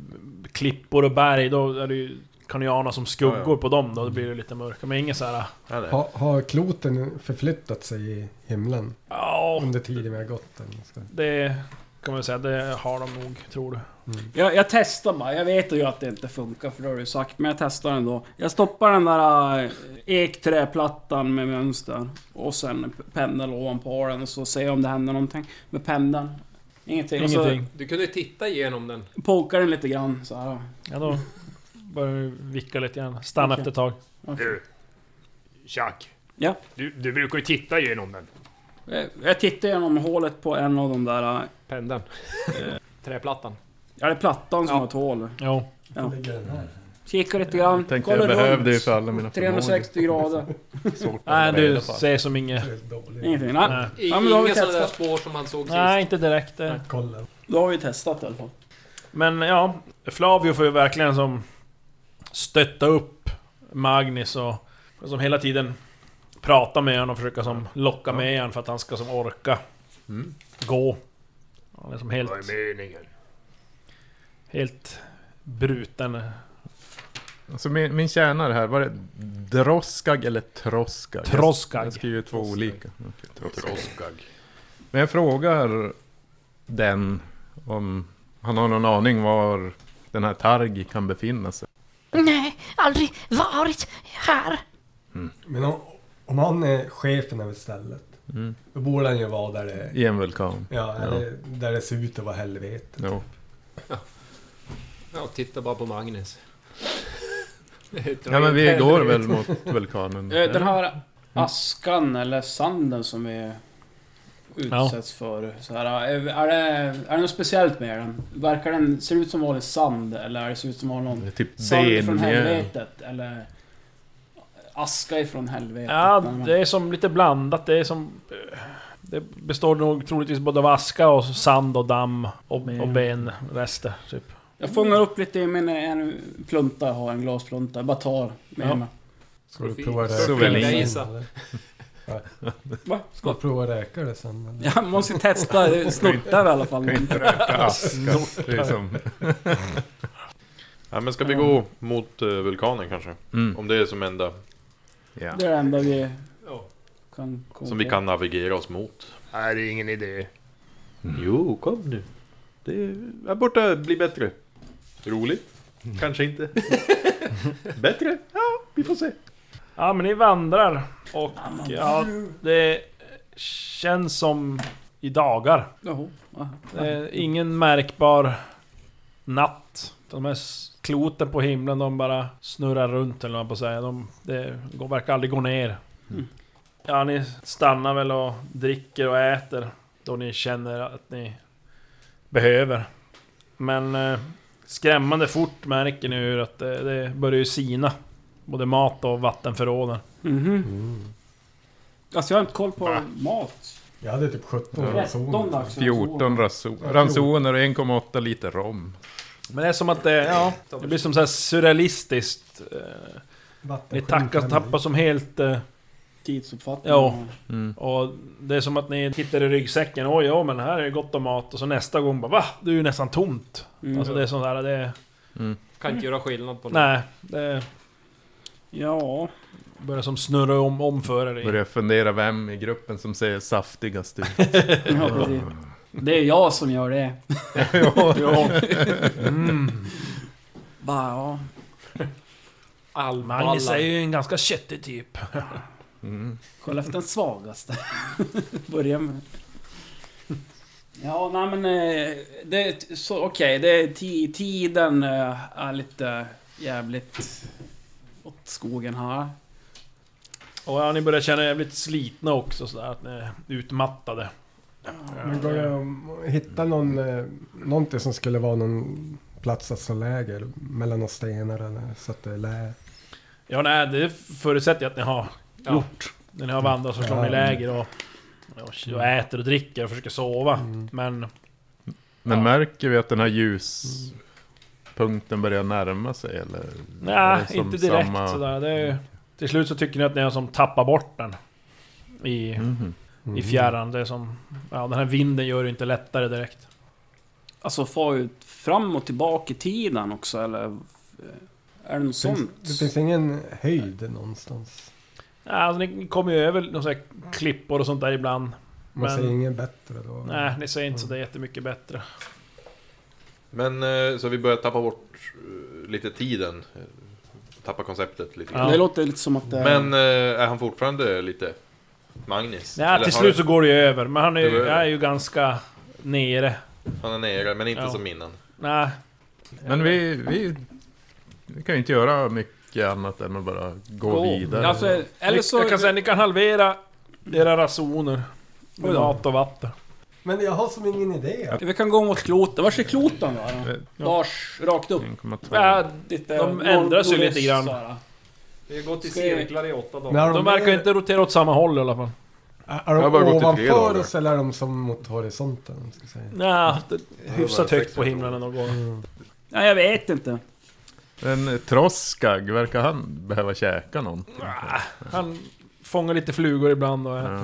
B: Klippor och berg, då är det ju Kaniana som skuggor
H: Ja, ja.
B: på dem då. Då blir det lite mörkare. Men inget såhär...
H: Ja, det är.
F: Ha, har kloten förflyttat sig i himlen
B: Ja,
F: under tiden vi har gått? eller vad ska jag-
B: det... Kan man säga, det har de nog, tror du.
E: Jag, jag testar bara. Jag vet ju att det inte funkar för det har du sagt. Men jag testar ändå. Jag stoppar den där äh, ekträplattan med mönster. Och sen p- pendeln ovanpå den och så ser jag om det händer någonting med pendeln. Ingenting.
B: Ingenting.
E: Och
D: Du kunde titta igenom den.
E: så pokar den lite grann så här.
B: Ja, då börjar du vicka lite grann. Stanna
E: Okej.
B: efter ett tag.
G: Du, Chuck.
E: Ja.
G: Du, du brukar ju titta igenom den.
E: Jag, Eh, jag tittar genom hålet på en av de där... äh,
G: [LAUGHS]
D: Pendeln. Träplattan.
E: Ja, det är plattan som
D: Ja.
E: har ett hål.
B: Jo.
E: Kikar lite grann.
C: Tänkte
E: kollar
C: jag behövde ju
E: runt.
C: för alla mina
E: 360 grader.
C: Svårt att
B: Nej,
C: hålla reda
B: du
C: på.
B: ser som inget...
E: Ingenting. Nej.
B: Nej.
D: I,
E: Ja, men då har vi
D: inga sådana där
E: testat.
D: spår som man såg sist.
B: Nej, inte direkt. Det.
F: Kolla.
E: Då har vi testat i alla fall.
B: Men ja, Flavio får ju verkligen som stötta upp Magnus och och som hela tiden prata med honom och försöka som locka med honom för att han ska som orka
H: Mm.
B: gå. Han är som helt,
G: Vad är meningen?
B: helt bruten.
C: Alltså min, min tjänare här, var det Droskag eller Troskag?
B: Troskag.
C: Jag skriver två olika. Okej, Troskag.
H: Troskag.
C: Men jag frågar den om han har någon aning var den här Targi kan befinna sig.
I: Nej, aldrig varit här.
F: Men om, om han är chefen över stället,
C: Mm.
F: då borde han ju vara där det,
C: I en vulkan.
F: ja, Eller, där det ser ut att vara helvete.
C: Jo.
D: Ja, titta bara på Magnus.
C: Ja men vi går väl mot vulkanen.
E: Eh, Den
C: Mm.
E: här askan eller sanden som vi utsätts för. Så här, är, är, det, är det något speciellt med den? Verkar den, ser ut som vanlig sand eller det ser ut som har
C: Det
E: någon
C: är typ
E: sand från
C: benmjöl.
E: helvetet? Eller aska ifrån helvetet?
B: Ja,
E: Nej, men-
B: det är som lite blandat. Det är som... eh, Det består nog troligtvis både av aska och sand och damm och, och benrester. Typ.
E: Jag fångar upp lite i min en plunta jag har, en glasplunta. Jag bara tar med
B: Ja.
E: mig.
F: Ska du prova det?
C: Souvenir.
F: sen?
E: [LAUGHS] Va?
F: Ska du prova räka det sen? eller?
E: Jag måste testa snortar i alla fall.
C: Kan inte röka aska. Det är som,
H: Ja, men ska vi gå mot eh, vulkanen kanske?
C: mm.
H: Om det är som enda
C: ja.
E: Det är det enda vi
D: Ja.
E: kan komma
H: som vi
E: på.
H: kan navigera oss mot.
G: Nej, det är ingen idé.
B: Mm.
H: Jo, kom nu. Det är här borta, blir bättre. Roligt? Kanske inte. [LAUGHS] bättre? Ja, vi får se.
B: Ja men ni vandrar och ja, det känns som i dagar.
E: Jaha. ja.
B: Det är ingen märkbar natt. De här s- kloten på himlen de bara snurrar runt eller vad man på säga. De det går, verkar aldrig gå ner.
E: Mm.
B: Ja ni stannar väl och dricker och äter då ni känner att ni behöver. Men eh, skrämmande fort märker ni hur att det, det börjar ju sina. Både mat och vattenförråden.
E: Mhm. Alltså jag har inte koll på mat.
F: Jag hade typ 17
C: Ja.
F: ransoner.
E: 13 dags.
C: 14 raso- ransoner och 1,8 liter rom.
B: Men det är som att det, ja, det blir som så här surrealistiskt. Eh, Ni
F: Vattensken
B: tackar,
F: fem
B: tappar som helt... eh,
E: Tidsuppfattning.
B: Ja.
C: Mm.
B: Och det är som att ni tittar i ryggsäcken. Oj, ja men här är gott om mat. Och så nästa gång bara va? Det är ju nästan tomt.
E: Mm.
B: Alltså det är sånt där, det...
D: Kan inte göra skillnad på något.
B: Nej, det
E: Ja.
B: börjar som snurra om, om för er. i-
C: Börjar fundera vem i gruppen som ser saftigast ut.
E: ja precis. det är jag som gör det.
B: Ja. Mm.
E: Bara ja.
D: All
B: Magnus är
D: ballan.
B: ju en ganska köttig typ.
C: Mm.
E: Kolla efter den svagaste. [LAUGHS] Börja med Ja, nej men... eh, Det är t- så, okej, det är ti, tiden eh, är lite jävligt åt skogen här.
B: Och ja, ni börjar känna er jävligt slitna också sådär. Att ni är utmattade.
F: Men går det att hitta någon, eh, någonting som skulle vara någon plats att slå läger mellan några stenar eller så att det är lä?
B: Ja, nej, det förutsätter jag att ni har
D: Ja.
B: gjort. När ni har vandrat så slår ni
F: Ja.
B: läger och, och, och äter och dricker och försöker sova. Men
C: Men märker vi att den här ljuspunkten börjar närma sig eller?
B: nej,
C: Är det som
B: inte direkt
C: samma-
B: sådär. Det är, till slut så tycker ni att ni har som tappat bort den. I,
C: Mhm.
B: i fjärran. Det är som, ja, den här vinden gör det inte lättare direkt.
E: Alltså far ut fram och tillbaka i tiden också eller? eh, Är det något
F: Finns,
E: sånt?
F: det finns ingen höjd någonstans?
B: Ja, alltså, ni kommer ju över några sådana här klippor och sånt där ibland.
F: Man
B: Men-
F: ser inget bättre då?
B: Nej, ni ser inte så det är jättemycket bättre.
H: Men eh, så vi börjar tappa bort eh, lite tiden. eh, Tappa konceptet lite grann.
B: Ja.
E: Det låter lite som att det
H: Men eh, är han fortfarande lite Magnus?
B: Nej,
H: Eller
B: till
H: har
B: slut så går det ju över. Men han är,
H: Det
B: ju-
H: går
B: är ju ganska nere.
H: Han är nere, men inte
B: Ja.
H: som innan.
B: Nej,
C: Men vi, vi, vi kan ju inte göra mycket annat än att bara gå vidare.
E: Alltså, eller så...
B: jag kan säga, ni kan halvera era rasoner. Med
E: Oj då.
B: mat och vatten.
F: Men jag har som ingen idé.
E: Vi kan gå mot kloten. Vart är kloten då? Lars, rakt upp.
C: 1,2.
B: Ja,
E: Lite
B: De ändrar sig
E: nordväst
B: lite grann.
E: så här.
D: Vi har gått i
E: Ska jag-
D: cirklar i åtta dagar.
F: Men är
B: de verkar
F: mer-
B: inte rotera åt samma håll i alla fall.
F: Är är
H: Jag har
F: de
H: bara gått i tre
F: ovanför
H: dagar.
F: oss eller är de som mot horisonten? om jag Ska säga?
B: Nej, det Mm. är hyfsat
H: bara
B: högt på himlen ändå. Går.
E: Nej, jag vet inte.
C: En Troskag, verkar han behöva käka någon?
B: Han fångar lite flugor ibland och äter.
C: Ja.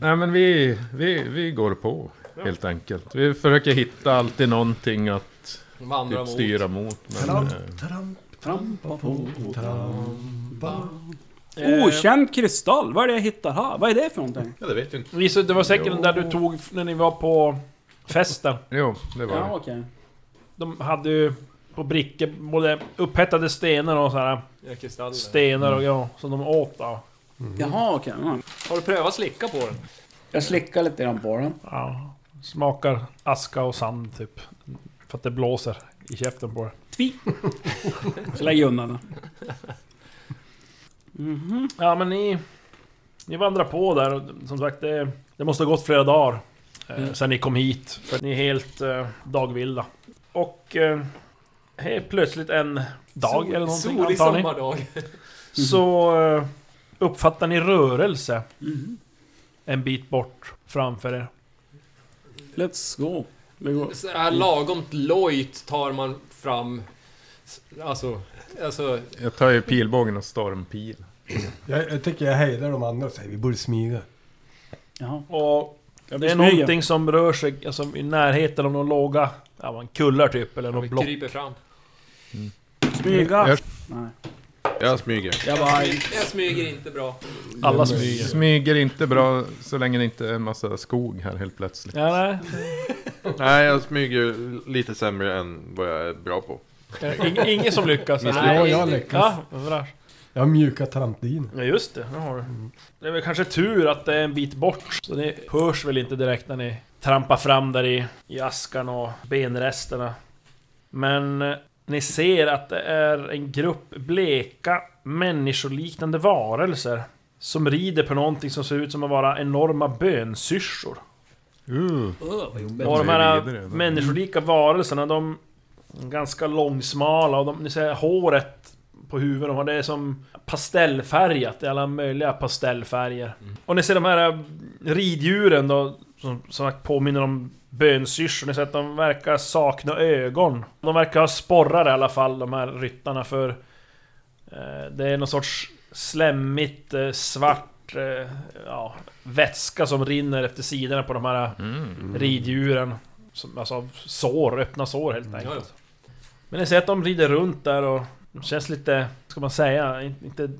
C: Nej men vi, vi, vi går på helt enkelt. Vi försöker hitta alltid någonting att
D: Vandrar
C: typ,
D: mot.
C: styra mot. Men,
F: Tramp,
C: eh,
F: tramp,
E: Trampa på.
F: po, trampa.
E: Eh, Okänd kristall, vad är det jag hittar här? Vad är det för någonting?
H: Ja, det vet du inte.
B: Lisa, Det var säkert den där du tog när ni var på festen.
C: jo, det var
E: Ja,
C: det.
E: okej.
B: De hade ju på brickor både upphettade stenar och sådär.
D: Ja, kristaller.
B: Stenar och ja, som de åt av.
E: Jaha, okej. ja.
D: Har du prövat slicka på den?
E: Jag slickar lite grann på den.
B: Ja, smakar aska och sand typ. För att det blåser i käften på det.
E: Tvi! Så lägger jag undan den. Mhm.
B: Ja men ni... Ni vandrar på där och som sagt det, det måste ha gått flera dagar eh, sen ni kom hit. För att ni är helt eh, dagvilda. Och... Eh, helt plötsligt en dag eller någonting
D: Solig
B: antar ni.
D: sommardag.
B: Så eh, uppfattar ni rörelse. En bit bort framför er.
E: Let's go. Det går.
D: Så här lagom lojt tar man fram... Alltså... Alltså...
C: Jag tar ju pilbågen och stormpil.
F: Jag, jag tycker jag hejdar de andra och säger vi borde smyga.
E: Jaha.
B: Och
E: Jag
B: det är
E: smyger.
B: någonting som rör sig alltså, i närheten av någon låga... Ja man kullar typ eller något
D: Vi
B: block.
D: kryper fram.
E: Smyga!
C: Jag-
E: Nej.
H: Jag smyger.
E: Jag bara...
D: Jag smyger inte bra.
B: Alla smyger.
C: Smyger inte bra så länge det inte är en massa skog här helt plötsligt.
B: Ja, nej.
H: Nej, jag smyger lite sämre än vad jag är bra på.
B: eh, Ing, ingen som lyckas.
H: Misslyckas.
F: Ja, jag lyckas.
B: Ja, bra.
F: Jag har mjuka trampdynor.
B: Ja just det, det har du. Det är väl kanske tur att det är en bit bort. Så ni hörs väl inte direkt när ni trampar fram där i, i askan och benresterna. Men eh, ni ser att det är en grupp bleka människoliknande varelser. Som rider på någonting som ser ut som att vara enorma bönsyrsor.
C: Uh,
B: Och de här
C: Vidare, va?
B: människolika varelserna, de är ganska långsmala och de, ni ser håret på huvudet, de har det är som pastellfärgat i alla möjliga pastellfärger.
D: Mm.
B: Och ni ser de här eh, riddjuren då, som, som sagt påminner om bönsyrsor, ni ser att de verkar sakna ögon. De verkar ha sporrar i alla fall, de här ryttarna, för eh, det är någon sorts slemmigt eh, svart eh, ja, vätska som rinner efter sidorna på de här eh,
D: Mm.
B: riddjuren. Som, alltså av sår, öppna sår helt enkelt.
D: Mm. Ja, ja.
B: Men ni ser att de rider runt där och de känns lite, ska man säga, in- inte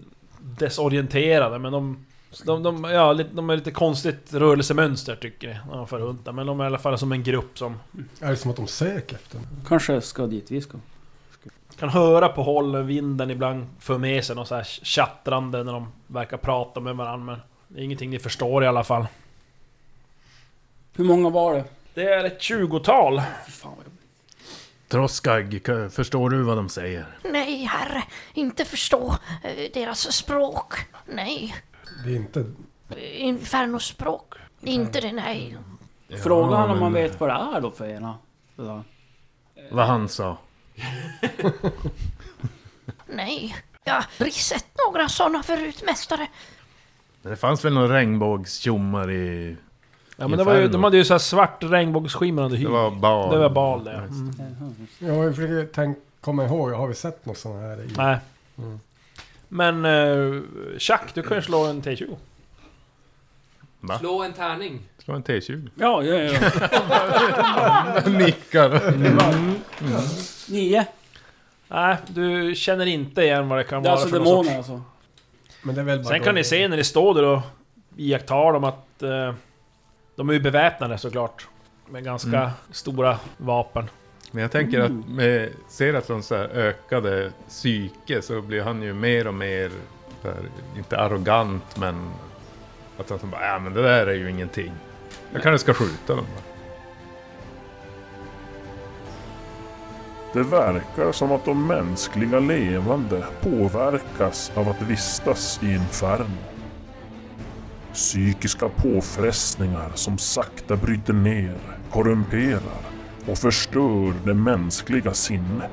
B: desorienterade men de... De, de, ja, lite- de är lite konstigt rörelsemönster tycker ni, när de far runt där. Men de är i alla fall som en grupp som
F: Är det som att de söker efter mig?
E: Kanske jag ska dit vi ska.
B: kan höra på håll, vinden ibland för med sig något så här tjattrande när de verkar prata med varandra. Men det är ingenting ni förstår i alla fall.
E: Hur många var det?
B: Det är ett tjugotal.
E: Fy fan vad jobbigt.
C: Troskag, k- förstår du vad de säger?
I: Nej, herre. Inte förstå eh, deras språk. Nej.
F: Det är inte...
I: Infernospråk. Inte det, nej.
E: Fråga honom om
C: men-
E: han vet vad det är då för ena. Så.
C: Vad han sa.
I: Nej, jag har aldrig sett några sådana förut, mästare.
C: Det fanns väl någon regnbågstjommar i...
B: Ja men det var ju,
C: Inferno.
B: de hade ju så här svart regnbågsskimmer under
C: Det
B: hyn.
C: var bal.
B: Det var bal det. ja.
C: just
B: Mm.
F: Jag försöker tänk, komma ihåg, har vi sett något sånt här? I...
B: Nej.
C: Mm.
B: Men eh, Chuck, du kan ju slå en T20.
C: Va?
D: Slå en tärning.
C: Slå en T20.
E: Ja, ja, ja.
C: Nickar.
E: Nio.
B: Nej, du känner inte igen vad det kan
E: Det är
B: vara
E: alltså
B: för någon
E: demoner alltså.
F: Men det är väl bara
B: Sen kan ni se när ni står där och iakttar dem att eh, de är ju beväpnade såklart. Med ganska
E: Mm.
B: stora vapen.
C: Men jag tänker att med Seratlons så här ökade psyke så blir han ju mer och mer, så här, inte arrogant men att han så bara, ja men det där är ju ingenting. Jag kanske ska skjuta dem bara.
A: Det verkar som att de mänskliga levande påverkas av att vistas i inferno. Psykiska påfrestningar som sakta bryter ner, korrumperar och förstör det mänskliga sinnet.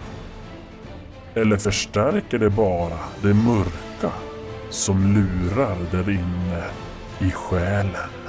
A: Eller förstärker det bara det mörka som lurar där inne i själen?